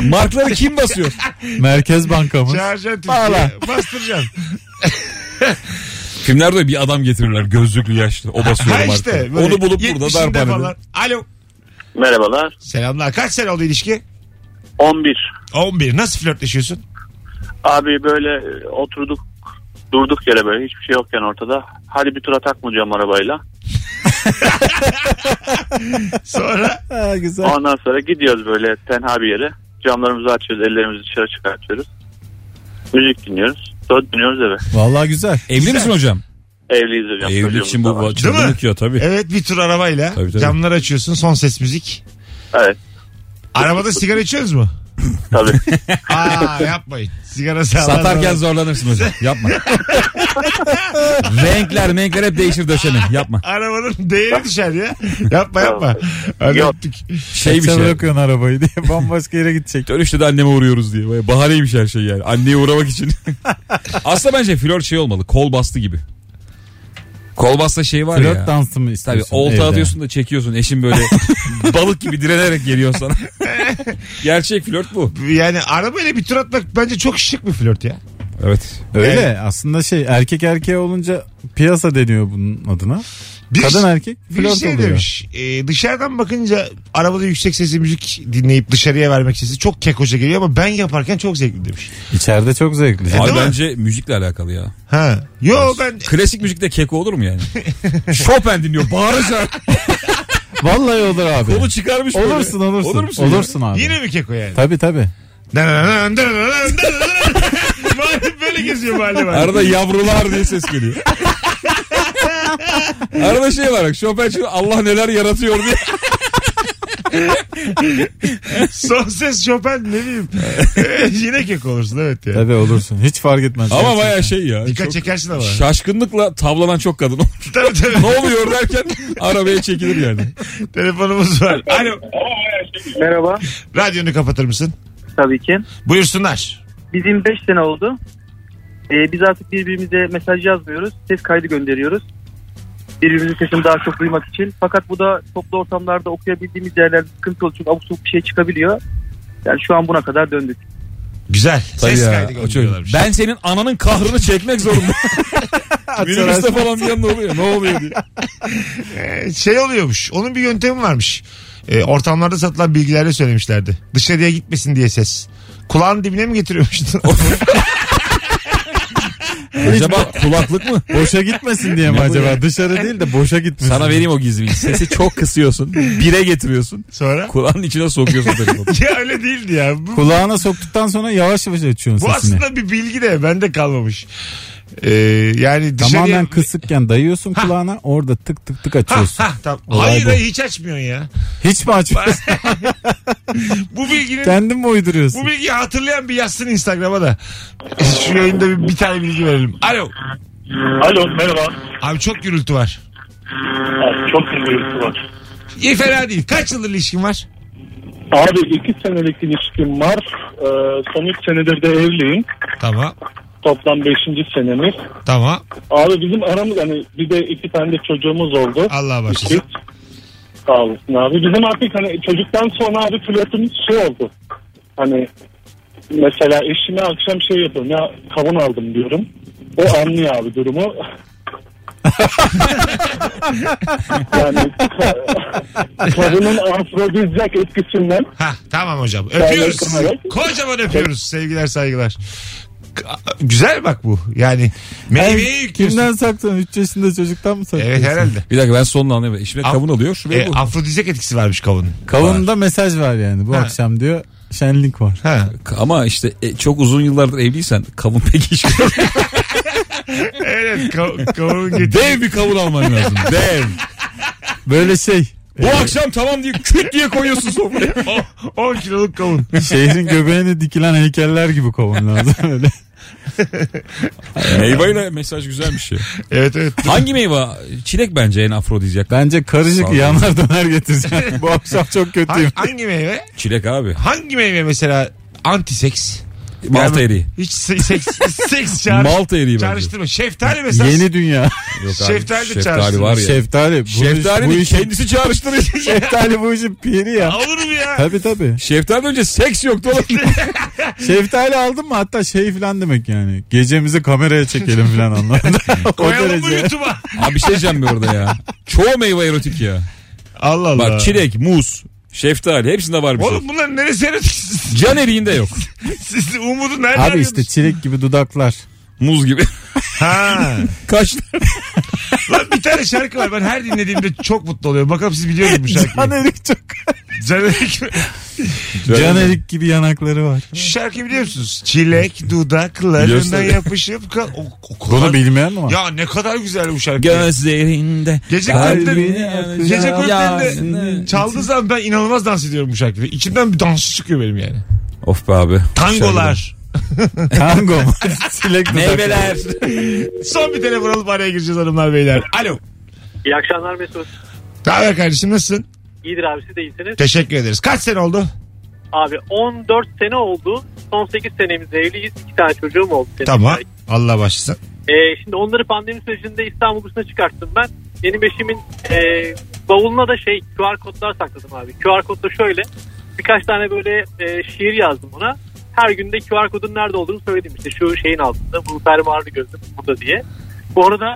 Markları kim basıyor?
Merkez bankamız.
Çağıracaksın
Bağla.
Türkiye'ye. Bastıracaksın.
Filmlerde de bir adam getirirler gözlüklü yaşlı. O basıyor
Ha
markayı.
işte. böyle
Onu bulup
70'inde
burada darp
falan. Alo.
Merhabalar.
Selamlar. Kaç sene oldu ilişki?
11.
11. Nasıl flörtleşiyorsun?
Abi böyle e, oturduk durduk yere böyle hiçbir şey yokken ortada. Hadi bir tura takmayacağım arabayla.
[LAUGHS]
Sonra
Ha, güzel.
[LAUGHS] Ondan sonra gidiyoruz böyle tenha bir yere. Camlarımızı açıyoruz, ellerimizi dışarı çıkartıyoruz. Müzik dinliyoruz. Sonra dönüyoruz eve.
Vallahi güzel.
Evli misin hocam?
Evliyiz hocam.
Evlilik
çocuğumuz
için
da
bu
var.
bu çılgınlık
Değil mi?
ya tabii.
evet bir tur arabayla
Tabii, tabii.
camları açıyorsun son ses müzik.
Evet
Arabada sigara içiyoruz mu?
tabii.
Aa yapmayın. Sigara sağlar.
Satarken zorlanırsın hocam. [LAUGHS] Yapma. renkler renkler hep değişir döşeni. Yapma.
Arabanın değeri düşer ya. Yapma yapma. Hadi
Yok.
öptük.
Şey bir
Sen
şey.
bırakıyorsun arabayı diye bambaşka yere gidecek.
Dönüşte de anneme uğruyoruz diye. Baya bahaneymiş her şey yani. Anneye uğramak [LAUGHS] için. Aslında bence flört şey olmalı. Kol bastı gibi. Kol bastı şey var ya.
Flört dansı mı
Tabii
istiyorsun?
olta
evde?
atıyorsun da çekiyorsun. Eşin böyle [LAUGHS] balık gibi direnerek geliyor [LAUGHS] sana. Gerçek flört bu.
Yani arabayla bir tur atmak bence çok şık bir flört ya.
Evet.
Öyle aslında şey erkek erkeğe olunca piyasa deniyor bunun adına.
Bir-
Kadın erkek
Bir
flört
şey
oluyor.
demiş. e, dışarıdan bakınca arabada yüksek sesli müzik dinleyip dışarıya vermek sesi çok kekoca geliyor ama ben yaparken çok zevkli demiş.
İçeride çok zevkli.
Abi
mi?
bence müzikle alakalı ya.
Ha. Yo ben
Klasik müzikte keko olur [LAUGHS] mu yani? Chopin dinliyor. Bağırırsa
Vallahi olur abi.
kolu çıkarmış. böyle.
Olursun olursun.
Olur
Olur
musun
Olursun abi.
yine mi keko yani?
Tabii tabii.
Dananan, dananan, dananan. [LAUGHS] Mahalle böyle geziyor mahalle var.
Arada yavrular diye ses geliyor. Arada şey var bak Chopin şu Allah neler yaratıyor diye.
Son ses Chopin ne bileyim. [LAUGHS] Yine keko olursun evet ya.
Tabii olursun. Hiç fark etmez.
Ama
Gerçekten.
baya şey ya.
Dikkat
çok
çekersin ama.
Şaşkınlıkla tavlanan çok kadın [LAUGHS] olur.
tabii tabii.
ne oluyor derken arabaya çekilir yani.
Telefonumuz var. Alo.
[LAUGHS] Merhaba.
Radyonu kapatır mısın?
Tabii ki.
Buyursunlar.
Bizim 5 sene oldu. Ee, biz artık birbirimize mesaj yazmıyoruz. Ses kaydı gönderiyoruz. Birbirimizin sesini daha çok duymak için. Fakat bu da toplu ortamlarda okuyabildiğimiz yerlerde sıkıntı olduğu için abuk sabuk bir şey çıkabiliyor. Yani şu an buna kadar döndük.
Güzel. Ses
ya,
kaydı
o çocuk.
gönderiyorlarmış.
Ben senin ananın kahrını çekmek zorundayım. Minibüste falan bir yanında oluyor. Ne oluyor diye.
Ee, şey oluyormuş. Onun bir yöntemi varmış. Ee, ortamlarda satılan bilgilerde söylemişlerdi. Dışarıya gitmesin diye ses. Kulağın dibine mi getiriyormuştun?
Acaba kulaklık mı?
Boşa gitmesin diye mi acaba? Dışarı değil de boşa gitmesin.
Sana vereyim o gizliyi. Sesi çok kısıyorsun. Bire getiriyorsun.
[LAUGHS]
[LAUGHS]
Sonra?
Kulağın içine sokuyorsun telefonu.
ya öyle değildi ya. Bu,
Kulağına soktuktan sonra yavaş yavaş açıyorsun
bu
sesini.
aslında bir bilgi de bende kalmamış. Ee, yani dışarıya...
Tamamen kısıkken dayıyorsun kulağına orada tık tık tık
Ha,
açıyorsun.
ha, tamam.
Olay
Hayır
bu.
hayır hiç açmıyorsun ya.
Hiç mi açmıyorsun?
Bu bilginin
Kendin mi uyduruyorsun?
bu bilgiyi hatırlayan bir yazsın Instagram'a da. Şu yayında bir, bir tane bilgi verelim. Alo.
Alo merhaba.
Abi çok gürültü var.
Abi, çok bir gürültü var.
İyi fena değil. Kaç yıldır ilişkin var?
Abi iki senelik ilişkim var. Ee, son üç senedir de evliyim.
Tamam.
Toplam beşinci senemiz.
Tamam.
Abi bizim aramız hani bir de iki tane de çocuğumuz oldu.
Allah'a
Biz,
başlasın.
sağ olasın abi. Bizim artık hani çocuktan sonra abi flörtümüz şey oldu. Hani mesela eşime akşam şey yapıyorum ya kavun aldım diyorum. O anlıyor abi durumu. yani [LAUGHS] kavunun afrodizyak etkisinden
Ha tamam hocam. Öpüyoruz.
Sağ olun.
Kocaman öpüyoruz. Sevgiler saygılar. K- Güzel bak bu. Yani meyveyi yüklüyorsun.
Kimden saklıyorsun? 3 yaşında çocuktan mı saklıyorsun?
Evet herhalde.
Bir dakika ben sonunu anlayamadım. İşime
Af-
kavun alıyor. Şuraya
E,
bu.
afrodizyak etkisi varmış kavunun.
Kavunda mesaj var yani. Bu
Ha.
akşam diyor şenlik var.
[LAUGHS] Ha.
Ama işte e, çok uzun yıllardır evliysen kavun pek [LAUGHS] iş görmüyor.
Evet kav- kavunun [LAUGHS] getirdiği.
Dev bir kavun alman [LAUGHS] lazım. Dev.
Böyle şey.
Bu akşam tamam diye küt diye koyuyorsun [LAUGHS] sofraya.
10 kiloluk kavun.
Şehrin göbeğine dikilen heykeller gibi kovun lazım öyle.
Meyveyle mesaj güzelmiş ya.
Evet evet.
Hangi meyve? Çilek bence en afrodizyak.
Bence
Sağ
karışık
ol.
yanar döner getireceğim. Bu akşam çok kötüyüm.
Hangi, hangi meyve?
Çilek abi.
Hangi meyve mesela antiseks?
Malta eriği.
Hiç se- seks,
[LAUGHS]
seks çağrış,
Malta eriği bence.
çağrıştırma. Şeftali mesela.
Yeni dünya.
Yok abi,
Şeftali de
şeftali
çağrıştırır.
var ya.
Şeftali. Bu
Şeftali
iş, bu
de
işin,
[LAUGHS] kendisi çağrıştırıyor.
[LAUGHS] şeftali bu işin piri ya.
Olur mu ya?
Tabii tabii.
Şeftali önce seks yoktu oğlum.
Şeftali aldın mı hatta şey falan demek yani. Gecemizi kameraya çekelim falan anlamında. o
Koyalım mı
derece.
YouTube'a?
abi bir şey diyeceğim bir orada ya. Çoğu meyve erotik ya.
Allah Allah.
Bak çilek, muz, şeftali hepsinde var bir şey.
Oğlum bunların neresi erotik? [LAUGHS]
Can eriğinde yok.
Siz umudu nerede
Abi işte çilek gibi dudaklar.
Muz gibi.
[LAUGHS]
Ha.
Kaşlar.
Lan bir tane şarkı var. Ben her dinlediğimde çok mutlu oluyorum. Bakalım siz biliyor musunuz bu şarkıyı?
Can erik çok.
Canerik.
Can erik gibi yanakları var.
Şu şarkıyı biliyor musunuz? Çilek dudaklarına
Biliyorsun tabii.
yapışıp... Ka- o, o kadar-
Bunu bilmeyen mi var?
Ya ne kadar güzel bu şarkı.
Gözlerinde.
Gece
kalbini
kulüplerinde-
yakacağım
gece kulüplerinde
yasını.
çaldığı zaman ben inanılmaz dans ediyorum bu şarkıyı. İçimden bir dans çıkıyor benim yani.
Of be abi.
Tangolar.
Tango [LAUGHS] mu? çilek dudakları.
Meyveler.
Son bir telefon alıp araya gireceğiz hanımlar beyler. Alo.
İyi akşamlar Mesut.
Ne haber kardeşim nasılsın?
İyidir abi siz de iyisiniz.
Teşekkür ederiz. Kaç sene oldu?
Abi 14 sene oldu. Son 8 senemizde evliyiz. 2 tane çocuğum oldu. benim.
Tamam. Allah başlasın.
Ee, şimdi onları pandemi sürecinde İstanbul dışına çıkarttım ben. Benim eşimin e, bavuluna da şey QR kodlar sakladım abi. QR kodda şöyle birkaç tane böyle e, şiir yazdım ona. Her günde QR kodun nerede olduğunu söyledim işte şu şeyin altında. Bu fermuarlı gözüm burada diye. Bu arada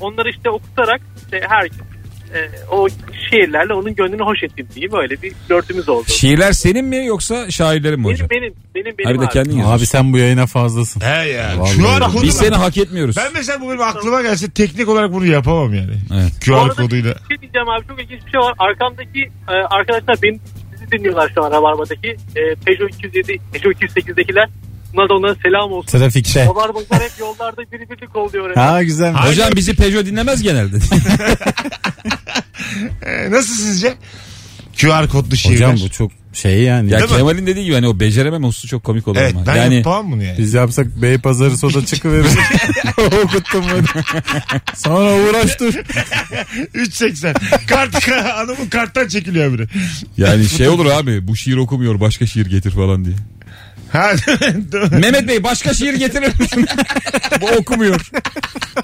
onları işte okutarak işte her e, o şiirlerle onun gönlünü hoş ettim diyeyim. Öyle bir flörtümüz oldu.
Şiirler senin mi yoksa şairlerin mi hocam?
Benim benim benim benim
Abi de
abi.
kendin yazıyorsun.
Abi sen bu yayına fazlasın.
He ya.
Vallahi.
Şu an
Biz
kodum.
seni hak etmiyoruz.
Ben mesela bu benim aklıma gelse teknik olarak bunu yapamam yani.
Evet.
Bu
QR
arada
koduyla.
Bir şey diyeceğim abi çok ilginç bir şey var. Arkamdaki e, arkadaşlar beni sizi dinliyorlar şu an Rabarba'daki. E, Peugeot 207, Peugeot 208'dekiler. Buna da onlara selam olsun.
Trafikte.
Rabarba'lar hep yollarda biri birlik oluyor. Yani.
Ha güzel.
Hocam bizi Peugeot
[LAUGHS]
dinlemez genelde.
Ee, nasıl sizce? QR kodlu şiirler.
Hocam bu çok şey yani.
ya
Değil mi?
Kemal'in dediği gibi hani o beceremem hususu çok komik olur
Evet
ama.
ben
yani
yapamam bunu [LAUGHS] yani.
Biz yapsak Bey Pazarı soda çıkıverir. [LAUGHS] Okuttum bunu. Sonra uğraş dur.
3.80. Kart, [LAUGHS] hanımın karttan çekiliyor biri.
[LAUGHS] yani şey olur abi bu şiir okumuyor başka şiir getir falan diye.
Ha, [LAUGHS] değil mi?
Mehmet Bey başka şiir getirir misin? [LAUGHS] bu okumuyor.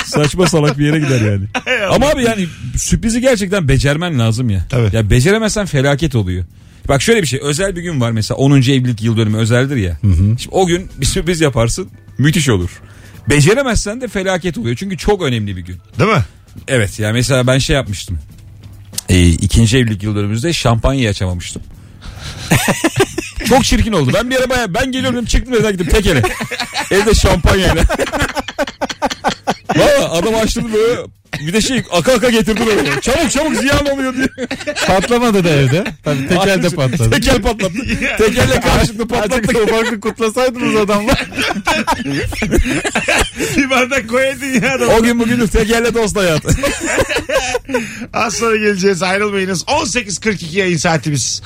Saçma salak bir yere gider yani. Ama abi yani sürprizi gerçekten becermen lazım ya.
Tabii.
Ya beceremezsen felaket oluyor. Bak şöyle bir şey özel bir gün var mesela 10. evlilik yıl dönümü özeldir ya. Şimdi o gün bir sürpriz yaparsın müthiş olur. Beceremezsen de felaket oluyor çünkü çok önemli bir gün.
Değil mi?
Evet ya mesela ben şey yapmıştım. Ee, ikinci evlilik yıl dönümümüzde şampanyayı açamamıştım. [LAUGHS] Çok çirkin oldu. Ben bir ara baya ben geliyorum dedim çıktım evden gittim tek ele. Evde şampanyayla. Valla adam açtı böyle bir de şey aka aka getirdi böyle. Çabuk çabuk ziyan oluyor diye.
Patlamadı da evde. Tabii tekel de patladı.
Tekel patlattı. Tekelle karşılıklı patlattık.
Ufaklık kutlasaydınız [LAUGHS] adamlar.
Bir bardak koyaydın ya adam.
O gün bugündür tekelle dost hayatı.
Az sonra geleceğiz ayrılmayınız. 18.42 yayın saatimiz.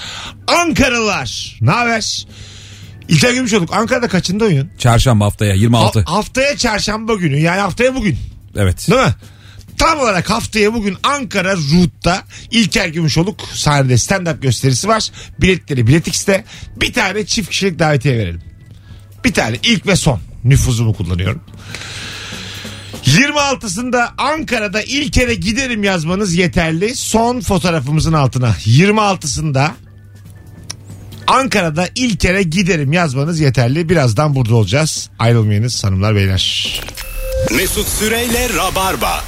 Ankaralılar. Ne haber? İlker Gümüşoluk Ankara'da kaçında oyun?
Çarşamba haftaya 26.
Ha- haftaya çarşamba günü yani haftaya bugün
Evet.
değil mi? Tam olarak haftaya bugün Ankara Root'ta İlker Gümüşoluk sahnede stand-up gösterisi var. Biletleri Bilet X'te. Bir tane çift kişilik davetiye verelim. Bir tane ilk ve son nüfuzumu kullanıyorum. 26'sında Ankara'da ilk kere giderim yazmanız yeterli. Son fotoğrafımızın altına 26'sında Ankara'da ilk kere giderim yazmanız yeterli. Birazdan burada olacağız. Ayrılmayınız hanımlar beyler.
Mesut Süreyle Rabarba.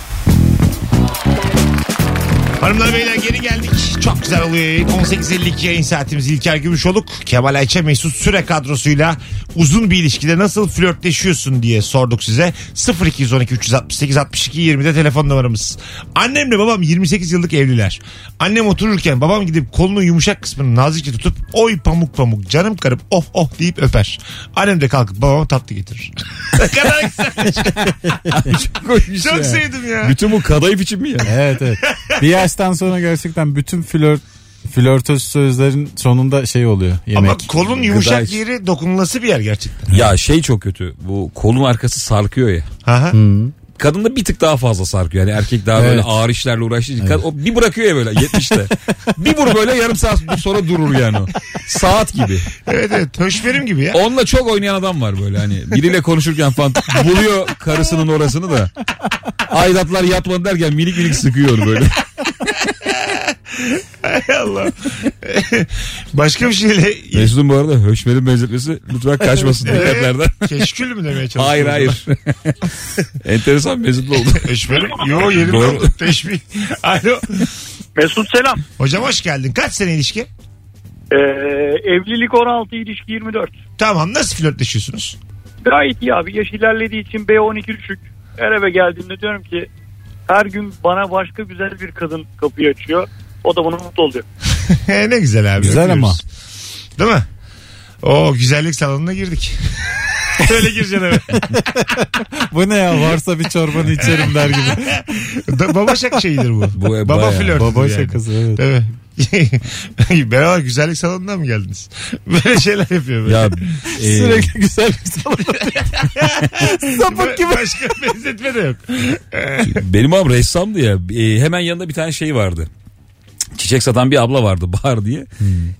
Hanımlar beyler geri geldik. Çok güzel oluyor yayın. 18.52 yayın saatimiz İlker Gümüşoluk. Kemal Ayça Mesut Süre kadrosuyla uzun bir ilişkide nasıl flörtleşiyorsun diye sorduk size. 0212 368 62 20'de telefon numaramız. Annemle babam 28 yıllık evliler. Annem otururken babam gidip kolunun yumuşak kısmını nazikçe tutup oy pamuk pamuk canım karım oh oh deyip öper. Annem de kalkıp babama tatlı getirir. [LAUGHS] ne kadar güzel. Çok
şey-
sevdim ya.
Bütün bu kadayıf için mi ya?
Evet evet. Bir yaştan sonra gerçekten bütün flört flörtöz sözlerin sonunda şey oluyor. Yemek.
Ama kolun yumuşak
gıda-
yeri dokunulası bir yer gerçekten.
Ya şey çok kötü. Bu kolun arkası sarkıyor ya.
Aha.
Kadında bir tık daha fazla sarkıyor. Yani erkek daha böyle
Evet.
ağır işlerle uğraştığı için. Kad- O bir bırakıyor ya böyle 70'te. bir vur böyle yarım saat sonra durur yani o. Saat gibi.
Evet evet. Höşmerim gibi ya.
Onunla çok oynayan adam var böyle hani. Biriyle konuşurken falan buluyor karısının orasını da. Aydatlar yatmadı derken minik minik sıkıyor onu böyle.
Hay [LAUGHS] Allah. [LAUGHS] Başka bir şeyle...
[LAUGHS] Mesut'un bu arada höşmerin benzetmesi lütfen kaçmasın dikkatlerden.
Keşkül mü demeye çalışıyorsun?
hayır hayır. Enteresan Mesut'la [LAUGHS] oldu.
Höşmerim. Yo yerim
Doğru.
oldu. Teşbih. Alo.
Mesut selam.
Hocam hoş geldin. Kaç sene ilişki?
Ee, evlilik 16, ilişki 24.
Tamam nasıl flörtleşiyorsunuz? [LAUGHS]
Gayet iyi abi. Yaş ilerlediği için B12 düşük. Her eve geldiğimde diyorum ki her gün bana başka güzel bir kadın kapıyı açıyor. O da buna mutlu oluyor.
ne güzel abi.
Güzel ama.
Değil mi? O güzellik salonuna girdik. [LAUGHS] Öyle gireceksin eve.
Bu ne ya varsa bir çorbanı içerim der gibi.
Da- Baba şak şeyidir bu.
Bu e,
Baba
bayağı.
flörtüdür
Baba
yani.
şakası evet.
Tabii. [LAUGHS] Beraber güzellik salonuna mı geldiniz? [LAUGHS] Böyle şeyler yapıyor böyle.
Ya,
Ee,
e,
Sürekli güzel bir salon.
Sapık gibi. Başka benzetme de yok.
benim abim ressamdı ya. E, hemen yanında bir tane şey vardı. Çiçek satan bir abla vardı [LAUGHS] Bahar diye.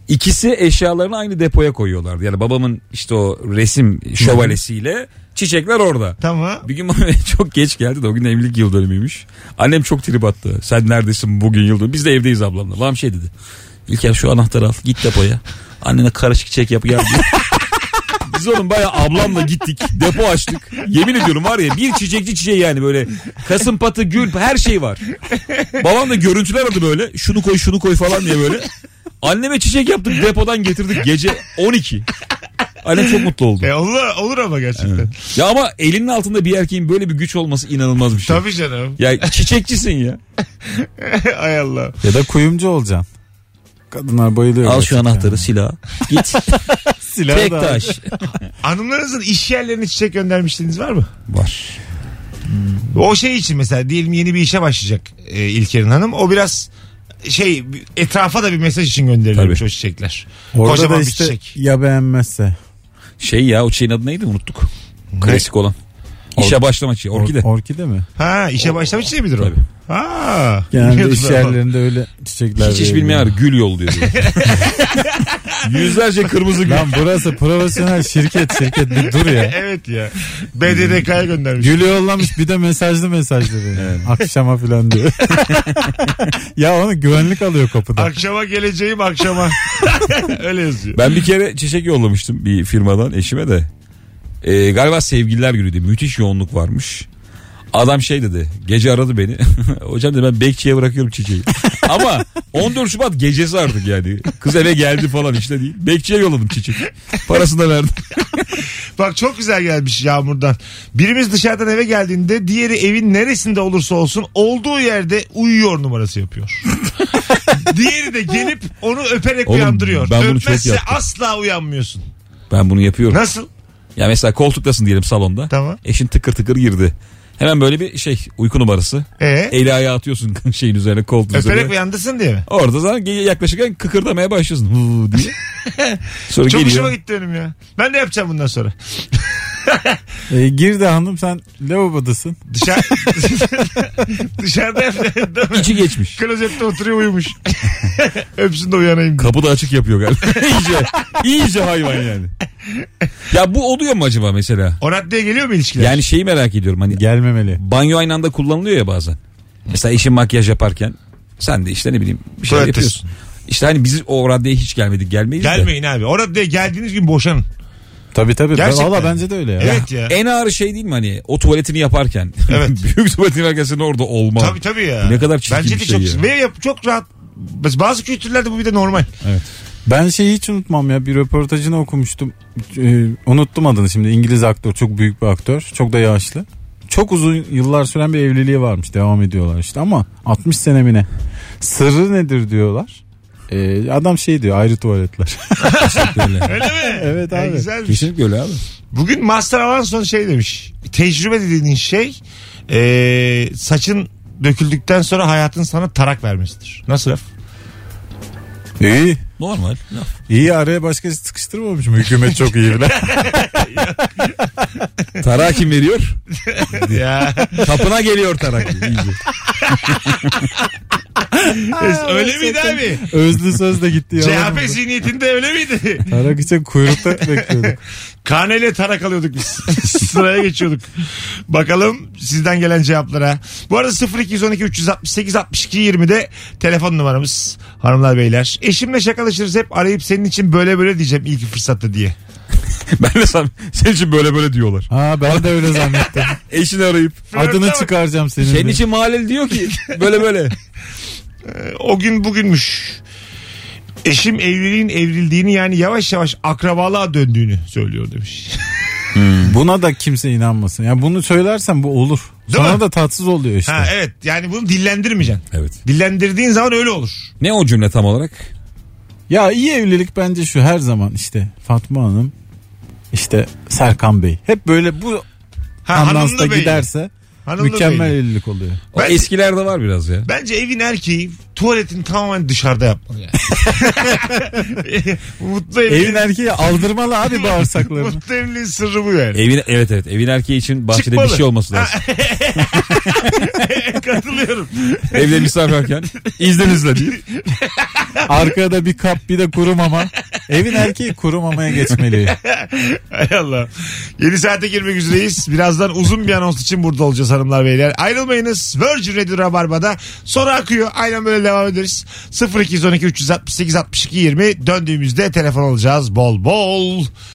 İkisi eşyalarını aynı depoya koyuyorlardı. Yani babamın işte o resim şövalesiyle çiçekler orada.
Tamam.
Bir gün bana [LAUGHS] çok geç geldi de o gün evlilik yıl dönümüymüş. Annem çok trip attı. Sen neredesin bugün yıl dönümü? Biz de evdeyiz ablamla. Babam şey dedi. İlker şu anahtarı al git depoya. Annene karışık çek yap gel. [LAUGHS] diye. Biz oğlum baya ablamla gittik. Depo açtık. Yemin ediyorum var ya bir çiçekçi çiçeği yani böyle. Kasım patı, gül her şey var. Babam da görüntüler aradı böyle. Şunu koy şunu koy falan diye böyle. Anneme çiçek yaptık depodan getirdik gece 12. Annem çok mutlu oldu.
E, olur, olur ama gerçekten.
Ya ama elinin altında bir erkeğin böyle bir güç olması inanılmaz bir şey.
Tabii canım. [LAUGHS]
Ya çiçekçisin ya.
Ay Allah.
Ya da kuyumcu olacaksın. Kadınlar bayılıyor.
Al şu
gerçekten.
anahtarı silah. [LAUGHS] Git.
Silah
Tek
da-
taş.
Hanımlarınızın iş yerlerine çiçek göndermişliğiniz var mı?
Var.
O şey için mesela diyelim yeni bir işe başlayacak e, İlker'in hanım. O biraz şey etrafa da bir mesaj için gönderilmiş
Tabii.
o çiçekler.
Orada
Kocaman
da işte
bir çiçek.
ya beğenmezse.
Şey ya o şeyin adı neydi unuttuk. Klasik olan. İşe başlamak için.
Or-
Orkide.
orkide mi?
Ha işe başlamış değil midir o?
Tabii.
Ha.
Genelde
bilmiyordum
iş
ben.
yerlerinde öyle çiçekler.
Hiç iş
veriliyor.
bilmeyen var. Gül yol [LAUGHS] diyor. Yüzlerce kırmızı gül.
Lan burası profesyonel şirket şirket bir dur [LAUGHS] ya.
Evet ya. BDDK'ya göndermiş.
Gülü yollamış bir de mesajlı mesajları. Akşama filan [LAUGHS] diyor. ya onu güvenlik alıyor kapıda.
Akşama geleceğim akşama. Öyle yazıyor.
Ben bir kere çiçek yollamıştım bir firmadan eşime de. Ee, galiba sevgililer günüydü. Müthiş yoğunluk varmış. Adam şey dedi. Gece aradı beni. [LAUGHS] Hocam dedi ben bekçiye bırakıyorum çiçeği. [LAUGHS] Ama 14 Şubat gecesi artık yani. Kız eve geldi falan işte değil. Bekçiye yolladım çiçek. Parasını da verdim.
Bak çok güzel gelmiş Yağmur'dan. Birimiz dışarıdan eve geldiğinde diğeri evin neresinde olursa olsun olduğu yerde uyuyor numarası
[LAUGHS]
yapıyor. diğeri de gelip onu öperek
Oğlum,
uyandırıyor.
ben bunu çok
Öpmezse
yaptım.
asla uyanmıyorsun.
Ben bunu yapıyorum.
Nasıl?
Ya mesela koltuktasın diyelim salonda.
Tamam.
Eşin tıkır tıkır girdi. Hemen böyle bir şey uyku numarası.
Ee?
Eli ayağı atıyorsun [LAUGHS] şeyin üzerine koltuğun üzerine.
Öperek uyandırsın diye mi?
Orada zaten yaklaşırken kıkırdamaya başlıyorsun.
[LAUGHS]
Huu diye. Sonra
Çok
geliyor.
hoşuma gitti benim ya. Ben de yapacağım bundan sonra.
E, gir de hanım sen lavabodasın.
Dışarı... [LAUGHS] Dışarıda evde değil mi?
İçi
[LAUGHS]
geçmiş.
Klozette oturuyor uyumuş. [LAUGHS] Öpsün de uyanayım. diye.
Kapı da açık yapıyor galiba. [LAUGHS] iyice, iyice hayvan yani. Ya bu oluyor mu acaba mesela?
O raddeye geliyor mu ilişkiler?
Yani şeyi merak ediyorum hani
Gelmemeli.
banyo aynı anda kullanılıyor ya bazen. Mesela eşin makyaj yaparken sen de işte ne bileyim bir şey
Tuvalettesin.
yapıyorsun. İşte hani biz o raddeye hiç gelmedik gelmeyiz de.
Gelmeyin abi. O raddeye geldiğiniz gün boşanın.
Tabii tabii.
Gerçekten.
Valla bence de öyle ya.
Evet ya.
En ağır şey değil mi hani o tuvaletini yaparken. [LAUGHS]
Evet.
Büyük tuvaletini yaparken senin orada olma.
Tabii tabii ya.
Ne kadar çirkin
Bence de
bir
çok,
şey ya.
Ve yap- çok rahat. Bazı kültürlerde bu bir de normal.
Ben şeyi hiç unutmam ya bir röportajını okumuştum. Ee, unuttum adını şimdi İngiliz aktör çok büyük bir aktör çok da yaşlı. Çok uzun yıllar süren bir evliliği varmış devam ediyorlar işte ama 60 senemine. Sırrı nedir diyorlar. Ee, adam şey diyor ayrı [LAUGHS] tuvaletler.
Öyle mi?
Evet
Ya
abi.
güzelmiş.
Kesinlikle öyle abi.
Bugün Master Alanson şey demiş. Tecrübe dediğin şey e, saçın döküldükten sonra hayatın sana tarak vermesidir. Nasıl
[LAUGHS]
laf?
iyi.
Normal.
İyi araya başkası sıkıştırmamış mı? Hükümet çok iyi bile.
Tarağı kim veriyor?
ya
Kapına geliyor tarak. İyice.
[LAUGHS] öyle miydi abi?
[LAUGHS] Özlü söz de gitti ya.
CHP zihniyetinde öyle miydi?
Tarak için kuyrukta bekliyorduk.
Kaneyle tarak alıyorduk biz. [LAUGHS] Sıraya geçiyorduk. Bakalım sizden gelen cevaplara. Bu arada 0212 368 62 20'de telefon numaramız hanımlar beyler. Eşimle şakalaşırız hep arayıp senin için böyle böyle diyeceğim ilk fırsatta diye.
ben de sen, senin için böyle böyle diyorlar.
Ha ben de öyle [LAUGHS] zannettim.
Eşini arayıp.
Adını çıkaracağım senin.
Senin
de.
için
E,
mahalleli diyor ki böyle böyle.
Ee, O gün bugünmüş. Eşim evliliğin evrildiğini yani yavaş yavaş akrabalığa döndüğünü söylüyor
[LAUGHS]
demiş.
Buna da kimse inanmasın. Ya bunu söylersen bu olur.
Değil
Sana
mi?
da tatsız oluyor işte.
ha e- evet yani bunu dillendirmeyeceksin.
Evet.
Dillendirdiğin zaman öyle olur.
Ne o cümle tam olarak?
Ya iyi evlilik bence şu her zaman işte Fatma Hanım işte Serkan Bey. Hep böyle bu
Ha,
ambulansta
hanımlı bey.
giderse
Hanımlı
mükemmel
beyli. [LAUGHS]
evlilik oluyor.
O
Ben-
eskilerde var biraz ya.
Bence evin erkeği tuvaletini tamamen dışarıda yapmalı
[LAUGHS]
yani. Mutlu evliliğin-
Evin erkeği aldırmalı
[LAUGHS]
abi bağırsaklarını.
Mutlu evliliğin sırrı bu
[LAUGHS]
yani. [LAUGHS]
Evin evet evet evin erkeği için bahçede
Çıkmalı.
bir şey olması lazım.
Katılıyorum.
Evde misafir varken izlen izle diye.
Arkada bir kap bir de kuru mama. Evin erkeği kuru
[LAUGHS]
mamaya geçmeli.
Hay Allah. Yeni saate girmek üzereyiz. Birazdan uzun bir anons için burada olacağız hanımlar beyler. Ayrılmayınız. Virgin Radio Rabarba'da. Sonra akıyor. Aynen böyle devam ederiz. 0212 368 62 20 döndüğümüzde telefon alacağız. Bol bol.